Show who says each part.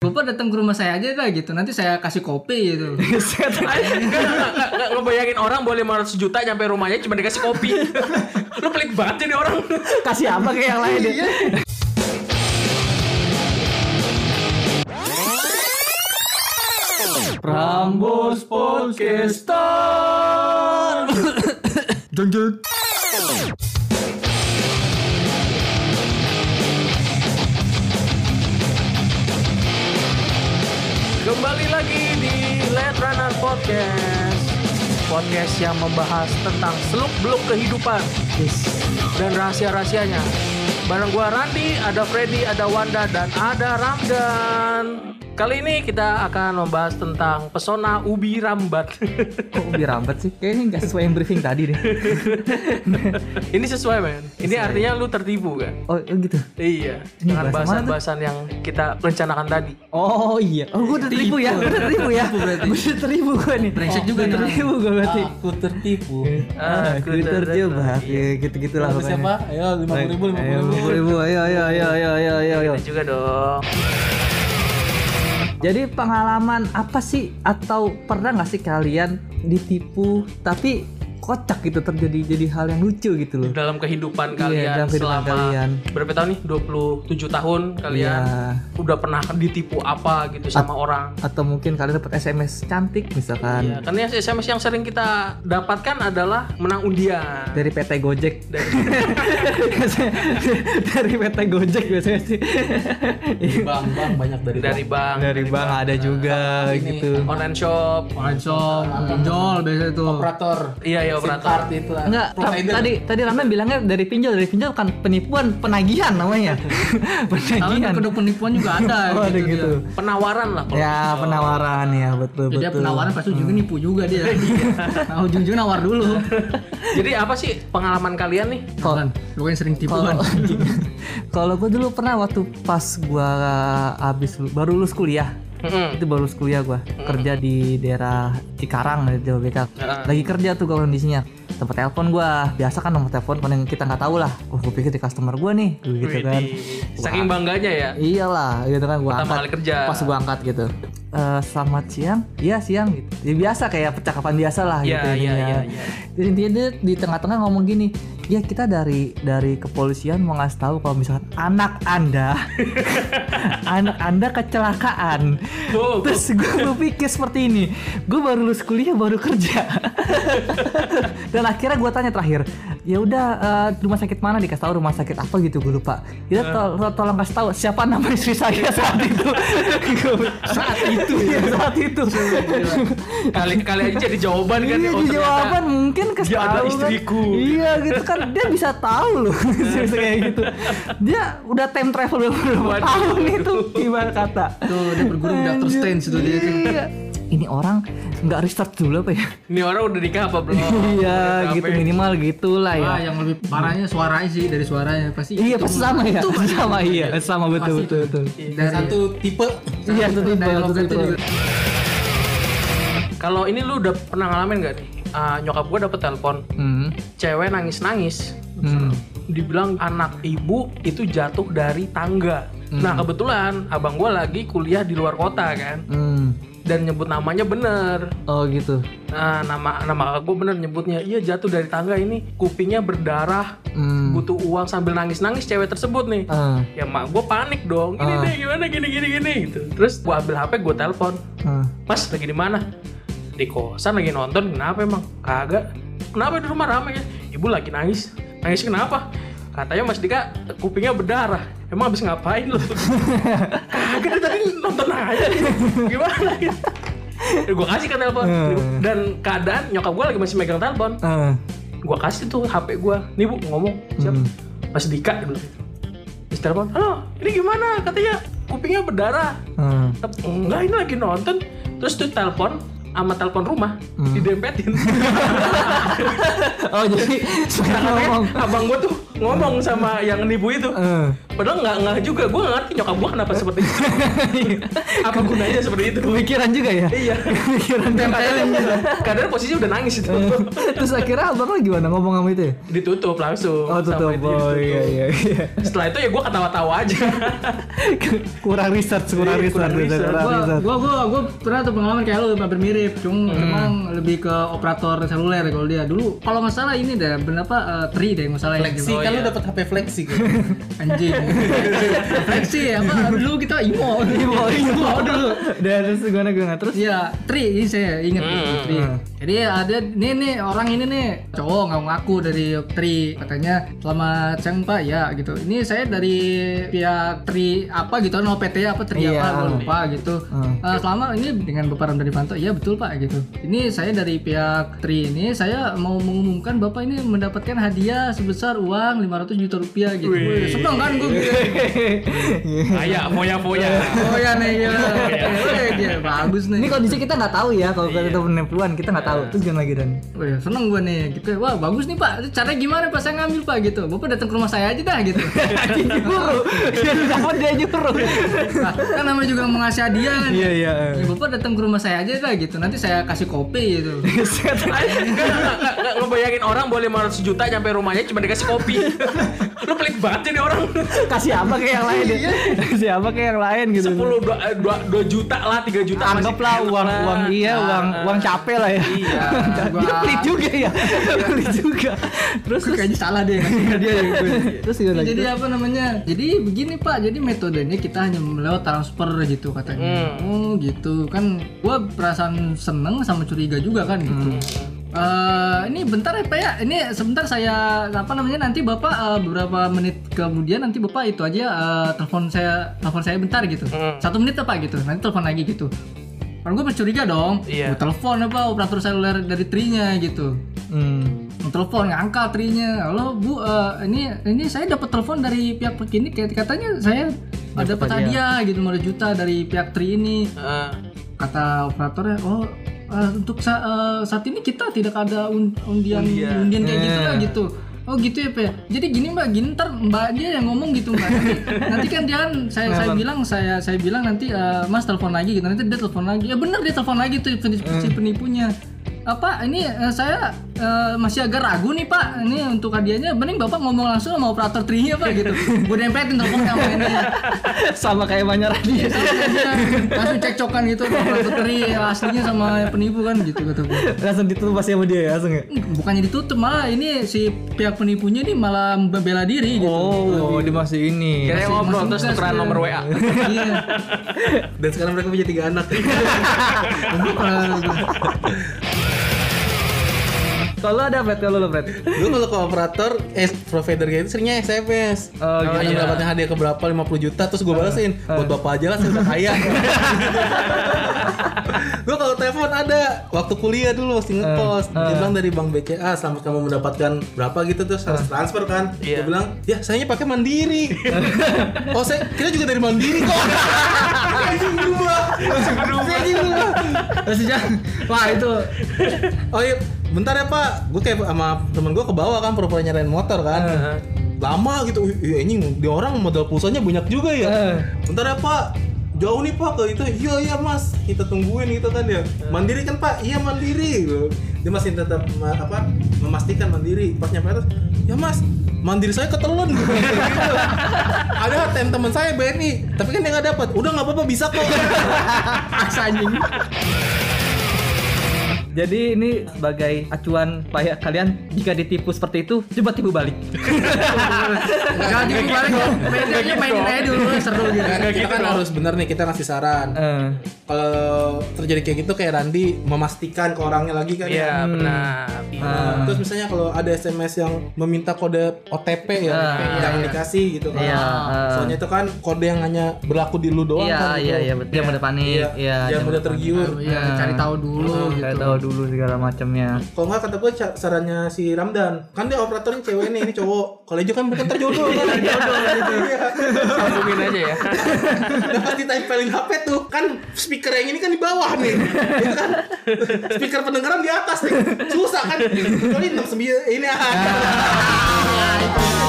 Speaker 1: Bapak datang ke rumah saya aja lah gitu. Nanti saya kasih kopi gitu.
Speaker 2: Set aja. Nggak, nggak, nggak, nggak. Lo bayangin orang boleh 500 juta nyampe rumahnya cuma dikasih kopi. Lo pelit banget jadi orang. Iya.
Speaker 3: Kasih apa kayak yang lain deh.
Speaker 2: Rambos Podcaster.
Speaker 1: Jengjet.
Speaker 2: Kembali lagi di Late Runner Podcast. Podcast yang membahas tentang seluk-beluk kehidupan dan rahasia-rahasianya. Bareng gua Randi, ada Freddy, ada Wanda, dan ada Ramdan. Kali ini kita akan membahas tentang pesona ubi rambat.
Speaker 3: Kok lebih rambet sih? Kayaknya nggak sesuai yang briefing tadi deh.
Speaker 2: Ini sesuai men. Ini artinya lu tertipu kan?
Speaker 3: Oh oh gitu.
Speaker 2: Iya.
Speaker 3: Ini
Speaker 2: Dengan
Speaker 3: bahasa mana tuh?
Speaker 2: bahasan-bahasan yang kita rencanakan tadi.
Speaker 3: Oh iya. Oh gue udah tertipu ya. Gue udah tertipu ya. Gue udah tertipu gue nih.
Speaker 1: Brengsek juga
Speaker 3: Udah
Speaker 1: nih.
Speaker 3: tertipu gue berarti.
Speaker 4: Aku tertipu.
Speaker 3: Ah,
Speaker 2: Aku
Speaker 3: gue tertipu.
Speaker 1: Iya.
Speaker 2: tertipu.
Speaker 3: Ya gitu-gitu lah
Speaker 4: Lalu siapa? Ayo lima puluh ribu, lima
Speaker 3: Ayo,
Speaker 4: puluh ribu.
Speaker 3: 50.000. Ayo, ayo, ayo, ayo, ayo, ayo, ayo.
Speaker 2: Kita Iya juga dong.
Speaker 3: Jadi pengalaman apa sih atau pernah nggak sih kalian ditipu tapi kocak gitu terjadi jadi hal yang lucu gitu loh.
Speaker 2: Dalam
Speaker 3: Iya,
Speaker 2: kehidupan kalian
Speaker 3: dalam kehidupan
Speaker 2: selama
Speaker 3: kalian.
Speaker 2: berapa tahun nih? 27 tahun kalian
Speaker 3: Iya.
Speaker 2: udah pernah ditipu apa gitu sama orang.
Speaker 3: Atau mungkin kalian dapat SMS cantik misalkan
Speaker 2: Iya, karena SMS yang sering kita dapatkan adalah menang undian.
Speaker 3: dari PT Gojek.
Speaker 2: Dari-
Speaker 3: dari PT Gojek biasanya sih.
Speaker 4: Bang, bang banyak dari
Speaker 2: dari bank,
Speaker 3: dari bank ada juga
Speaker 4: Ini.
Speaker 3: gitu.
Speaker 2: online shop.
Speaker 1: Pancol, pinjol biasa itu.
Speaker 4: operator.
Speaker 2: Iya, iya,
Speaker 4: SIM
Speaker 2: operator.
Speaker 4: card itu lah.
Speaker 3: Enggak,
Speaker 4: Provider.
Speaker 3: tadi tadi Ramen bilangnya dari pinjol, dari pinjol kan penipuan, penagihan namanya.
Speaker 1: Tapi di
Speaker 3: penagihan.
Speaker 1: kedok penipuan juga ada
Speaker 3: Iya. Oh, ada
Speaker 1: dia.
Speaker 3: gitu.
Speaker 2: Penawaran lah kalau
Speaker 3: Ya, penawaran ya, betul
Speaker 1: Jadi dia
Speaker 3: betul. Hmm.
Speaker 1: penawaran pasti juga nipu juga dia. nah, ujung-ujung nawar dulu.
Speaker 2: Jadi apa sih pengalaman kalian nih?
Speaker 3: Kalau-
Speaker 1: Kan, lu kan sering tipu kan.
Speaker 3: Kalau kalau gue dulu pernah waktu pas gua abis baru lulus kuliah,
Speaker 2: Mm-mm.
Speaker 3: itu baru lulus kuliah gua kerja di daerah Cikarang di Jawa BK
Speaker 2: Hmm. Heeh.
Speaker 3: lagi kerja tuh kalau kondisinya tempat telepon gua biasa kan nomor telepon yang kita nggak tahu lah oh gue pikir di customer gua nih Gua gitu kan
Speaker 2: Widih. Saking bangganya ya.
Speaker 3: iyalah gitu kan gua
Speaker 2: Pertama
Speaker 3: angkat
Speaker 2: kali kerja.
Speaker 3: pas gua angkat gitu Eh, selamat siang iya siang gitu ya biasa kayak percakapan biasa lah
Speaker 2: Iya,
Speaker 3: gitu
Speaker 2: iya,
Speaker 3: intinya.
Speaker 2: iya, iya.
Speaker 3: Jadi intinya dia di tengah-tengah ngomong gini ya kita dari dari kepolisian mau ngasih tahu kalau misalkan anak anda anak anda kecelakaan
Speaker 2: Wow.
Speaker 3: terus gue berpikir seperti ini gue baru lulus kuliah baru kerja dan akhirnya gue tanya terakhir ya udah eh, rumah sakit mana dikasih tahu rumah sakit apa gitu gue lupa kita to- to- tolong kasih tahu siapa nama istri saya saat itu saat itu ya saat itu
Speaker 2: kali kali aja jadi jawaban kan
Speaker 3: Iya, di
Speaker 2: oh, ternyata
Speaker 3: jawaban mungkin kasih
Speaker 2: dia
Speaker 3: tahu
Speaker 2: adalah
Speaker 3: kan.
Speaker 2: istriku. Nah.
Speaker 3: Iya gitu kan dia bisa tahu loh bisa kayak gitu. Dia udah time travel berapa
Speaker 2: Waduh.
Speaker 3: tahun itu ibarat kata.
Speaker 1: Tuh dia berguru di Dr. Strange itu dia. tuh.
Speaker 3: Iya. Ini orang nggak research dulu apa ya?
Speaker 2: ini orang udah nikah apa belum
Speaker 3: Iya gitu minimal gitulah ya.
Speaker 1: Ah, yang lebih parahnya suaranya sih dari suaranya pasti.
Speaker 3: Iya
Speaker 1: itu.
Speaker 3: pasti sama ya. Pasti sama iya. Sama betul
Speaker 1: Pasti
Speaker 3: betul
Speaker 1: itu.
Speaker 3: betul.
Speaker 1: Dari
Speaker 4: satu tipe
Speaker 3: Iya
Speaker 1: Satu
Speaker 3: betul
Speaker 1: dari
Speaker 3: betul.
Speaker 1: logatnya
Speaker 3: betul.
Speaker 1: juga.
Speaker 2: kalau ini lu udah pernah ngalamin gak nih Ah, nyokap gua dapet telepon
Speaker 3: Hmm.
Speaker 2: cewek nangis nangis
Speaker 3: Hmm.
Speaker 2: dibilang anak ibu itu jatuh dari tangga
Speaker 3: Hmm.
Speaker 2: nah kebetulan abang gua lagi kuliah di luar kota kan
Speaker 3: Hmm.
Speaker 2: dan nyebut namanya bener
Speaker 3: Oh gitu.
Speaker 2: nah nama nama gue bener nyebutnya iya jatuh dari tangga ini kupingnya berdarah
Speaker 3: Hmm.
Speaker 2: butuh uang sambil nangis nangis cewek tersebut nih
Speaker 3: Ah,
Speaker 2: ya mak gue panik dong ini
Speaker 3: Ah.
Speaker 2: deh gimana gini gini gini gitu terus gue ambil hp gue telepon
Speaker 3: ah.
Speaker 2: mas lagi di mana di kosan lagi nonton kenapa emang kagak kenapa di rumah ramai ya ibu lagi nangis nangis kenapa katanya mas Dika kupingnya berdarah emang abis ngapain lu kagak dia tadi nonton aja gimana gitu gue kasih kan telepon dan keadaan nyokap gue lagi masih megang telepon
Speaker 3: Ah.
Speaker 2: gua kasih tuh HP gua nih bu ngomong siap
Speaker 3: Hmm.
Speaker 2: Mas Dika dulu terus telepon halo ini gimana katanya kupingnya berdarah
Speaker 3: Ah.
Speaker 2: Tep, enggak ini lagi nonton terus tuh telepon sama telepon rumah
Speaker 3: Hmm.
Speaker 2: didempetin
Speaker 3: Oh jadi sekarang
Speaker 2: Katanya, ya?
Speaker 3: ngomong.
Speaker 2: abang gua tuh ngomong sama yang nipu itu
Speaker 3: Eh.
Speaker 2: padahal nggak nggak juga gue nggak ngerti nyokap gue kenapa seperti itu apa gunanya seperti itu
Speaker 3: Kepikiran juga ya?
Speaker 2: iya
Speaker 3: Kepikiran Hmm.
Speaker 2: kadang kadang posisinya udah nangis itu
Speaker 3: Terus akhirnya abang lo gimana ngomong sama itu ya?
Speaker 2: ditutup langsung
Speaker 3: Oh tutup,
Speaker 2: Sampai itu
Speaker 3: oh
Speaker 2: ditutup.
Speaker 3: iya iya iya
Speaker 2: setelah itu ya gue ketawa-tawa aja
Speaker 3: Kurang research, kurang
Speaker 2: Iya,
Speaker 3: research, kurang
Speaker 2: kurang research.
Speaker 1: gua
Speaker 3: research
Speaker 1: gua gua gua pernah tuh pengalaman kayak lu hampir mirip
Speaker 4: Hmm.
Speaker 1: cuma emang lebih ke operator seluler kalau dia dulu kalau nggak salah ini deh berapa eh, tri deh nggak salah yang
Speaker 4: Flexi,
Speaker 1: gitu.
Speaker 4: kan
Speaker 1: Oh,
Speaker 4: lu
Speaker 1: iya.
Speaker 4: dapet HP Flexi kan?
Speaker 1: anjing flexi ya apa dulu kita imo
Speaker 3: Imo,
Speaker 4: iya.
Speaker 1: imo dulu
Speaker 3: Dan terus gimana gimana terus?
Speaker 1: Iya, Tri, ini saya inget
Speaker 2: Hmm.
Speaker 1: Tri. Jadi ada nih nih orang ini nih cowok nggak ngaku dari Tri katanya selamat siang Pak ya gitu. Ini saya dari pihak Tri apa gitu, no PT apa Tri
Speaker 3: Iya.
Speaker 1: apa gua lupa gitu.
Speaker 3: Hmm.
Speaker 1: Eh, selama ini dengan Bapak Ramdhani Panto, iya betul Pak gitu. Ini saya dari pihak Tri ini saya mau mengumumkan Bapak ini mendapatkan hadiah sebesar uang 500 juta rupiah gitu.
Speaker 2: Wih.
Speaker 1: Wih, Seneng kan gue gitu.
Speaker 2: kayak foya-foya
Speaker 1: Oh ya nih ya. Wih, dia bagus nih.
Speaker 3: Ini kondisi kita nggak tahu ya kalau kita temen penipuan kita nggak tahu. Terus gimana lagi dan?
Speaker 1: Oh ya seneng gue nih gitu. Wah bagus nih pak. Caranya gimana pak? Saya ngambil pak gitu. Bapak datang ke rumah saya aja dah gitu.
Speaker 3: Nyuruh, dia dapat dia nyuruh.
Speaker 1: Nah, kan namanya juga mengasih hadiah kan.
Speaker 3: Iya iya.
Speaker 1: Ya, bapak datang ke rumah saya aja dah gitu. Nanti saya kasih kopi gitu.
Speaker 2: Gak ngebayangin orang boleh 500 juta nyampe rumahnya cuma dikasih kopi Lu pelit banget jadi orang
Speaker 3: Kasih apa ke yang lain? ya? Kasih apa ke yang lain gitu?
Speaker 2: 10, 2, juta lah, 3 juta masih
Speaker 3: Anggaplah
Speaker 2: enak
Speaker 3: uang
Speaker 2: lah.
Speaker 3: uang iya
Speaker 2: Nah,
Speaker 3: uang uang capek lah ya.
Speaker 1: Iya,
Speaker 3: Dia
Speaker 1: gua-
Speaker 3: pelit juga ya. Pelit juga. Terus terus
Speaker 1: Kayaknya salah deh ngasih hadiah ya gue.
Speaker 3: terus gimana lagi?
Speaker 1: Jadi apa namanya? Jadi begini Pak, jadi metodenya kita hanya lewat transfer gitu katanya.
Speaker 2: Hmm.
Speaker 1: Oh gitu kan, gua perasaan seneng sama curiga juga kan gitu.
Speaker 2: Hmm.
Speaker 1: Eh, ini bentar ya Pak ya, ini sebentar saya apa namanya nanti Bapak eh, beberapa menit kemudian nanti Bapak itu aja eh, telepon saya telepon saya bentar gitu.
Speaker 2: Hmm.
Speaker 1: Satu menit ya Pak gitu, nanti telepon lagi gitu. Kan gue mencuriga dong,
Speaker 2: Iya.
Speaker 1: Gua telepon apa operator seluler dari trinya gitu
Speaker 3: Hmm.
Speaker 1: telepon ngangkat trinya halo bu eh, ini ini saya dapat telepon dari pihak klinik ya katanya saya ada dapat hadiah gitu 500 juta dari pihak tri ini
Speaker 2: eh,
Speaker 1: kata operatornya oh eh, untuk sa- eh, saat ini kita tidak ada un- undian
Speaker 2: Undian.
Speaker 1: undian, kayak gitu lah gitu Oh gitu ya Pak. Jadi gini Mbak, gini ntar Mbak dia yang ngomong gitu Mbak. Nanti, nanti kan dia kan saya saya bilang saya saya bilang nanti eh, Mas telepon lagi gitu. Nanti dia telepon lagi. Ya bener dia telepon lagi tuh si si penipunya. Apa ini eh, saya eh, masih agak ragu nih Pak. Ini untuk hadiahnya mending Bapak ngomong langsung sama operator trinya Pak gitu. Gue dempetin teleponnya sama ini
Speaker 3: Sama kayak banyak dia.
Speaker 1: langsung cekcokan gitu putri aslinya sama penipu kan gitu kata gue
Speaker 3: Langsung ditutup pasti sama dia ya, langsung ya.
Speaker 1: bukannya ditutup malah ini si pihak penipunya ini malah membela diri gitu
Speaker 3: Oh, dia masih ini.
Speaker 2: Kira-kira
Speaker 1: Masih-
Speaker 2: ngobrol
Speaker 1: masih
Speaker 2: terus
Speaker 1: muda
Speaker 2: tukeran
Speaker 1: sebenarnya.
Speaker 2: nomor WA
Speaker 1: iya
Speaker 4: Dan sekarang mereka punya tiga anak.
Speaker 1: Mabuk lah gua.
Speaker 3: Kalau ada Fred, kalau lo Fred.
Speaker 4: Dulu kalau ke operator, eh provider gitu seringnya SMS.
Speaker 3: Oh,
Speaker 4: Kita
Speaker 2: iya.
Speaker 4: mendapatkan hadiah ke berapa 50 juta terus gue balesin buat bapak aja lah saya udah kaya. gue kalau telepon ada waktu kuliah dulu masih ngekos dia bilang dari bank BCA selamat kamu mendapatkan berapa gitu terus harus transfer kan
Speaker 2: Iya.
Speaker 4: Gua bilang ya saya pakai mandiri oh saya kita juga dari mandiri kok anjing gua anjing gua
Speaker 1: Terus dia, wah itu
Speaker 4: Oh iya, bentar ya pak, gue kayak sama temen gue ke bawah kan pura-pura nyariin motor kan
Speaker 3: Eh.
Speaker 4: Lama gitu, "Wih, iya anjing, di orang modal pulsanya banyak juga ya
Speaker 3: Eh.
Speaker 4: Bentar ya pak, jauh nih pak ke itu, iya iya mas, kita tungguin gitu kan
Speaker 3: Eh.
Speaker 4: ya Mandiri kan pak, iya mandiri gitu. Dia masih tetap ma- apa memastikan mandiri, pas nyampe atas, ya mas mandiri saya ketelun gitu. ada tem teman saya BNI tapi kan dia nggak dapat udah nggak apa-apa bisa kok
Speaker 1: paksa anjing
Speaker 3: Jadi ini sebagai acuan supaya kalian jika ditipu seperti itu coba tipu balik.
Speaker 1: Jangan tipu balik dong. Bedanya mainin aja dulu seru gitu
Speaker 4: kita kan harus bener nih kita ngasih saran
Speaker 3: Eh,
Speaker 4: kalau terjadi kayak gitu kayak Randi memastikan ke orangnya lagi kan
Speaker 2: Iya
Speaker 4: ya.
Speaker 2: benar
Speaker 3: Hmm.
Speaker 2: Iya.
Speaker 4: Nah, Terus misalnya kalau ada SMS yang meminta kode OTP ya, jangan dikasih gitu kan.
Speaker 3: Nah, Iya, eh.
Speaker 4: Soalnya itu kan kode yang hanya berlaku di lu doang
Speaker 3: Iya
Speaker 4: kan. gitu.
Speaker 3: iya iya betul. Jangan udah panik. Iya.
Speaker 4: jangan mudah tergiur.
Speaker 1: Iya, cari tahu dulu
Speaker 3: Gak
Speaker 1: gitu
Speaker 3: tahu dulu segala macamnya.
Speaker 4: Kalau nggak kata gue ca- sarannya si Ramdan, kan dia operatornya cewek nih, ini cowok. Kalau dia kan mereka terjodoh kan, jodoh gitu. Iya.
Speaker 2: Sambungin aja ya
Speaker 4: Nah pas ditempelin HP tuh kan speaker yang ini kan di bawah nih, itu kan speaker pendengaran di atas nih, susah kan. Kecuali 69 ini. ah.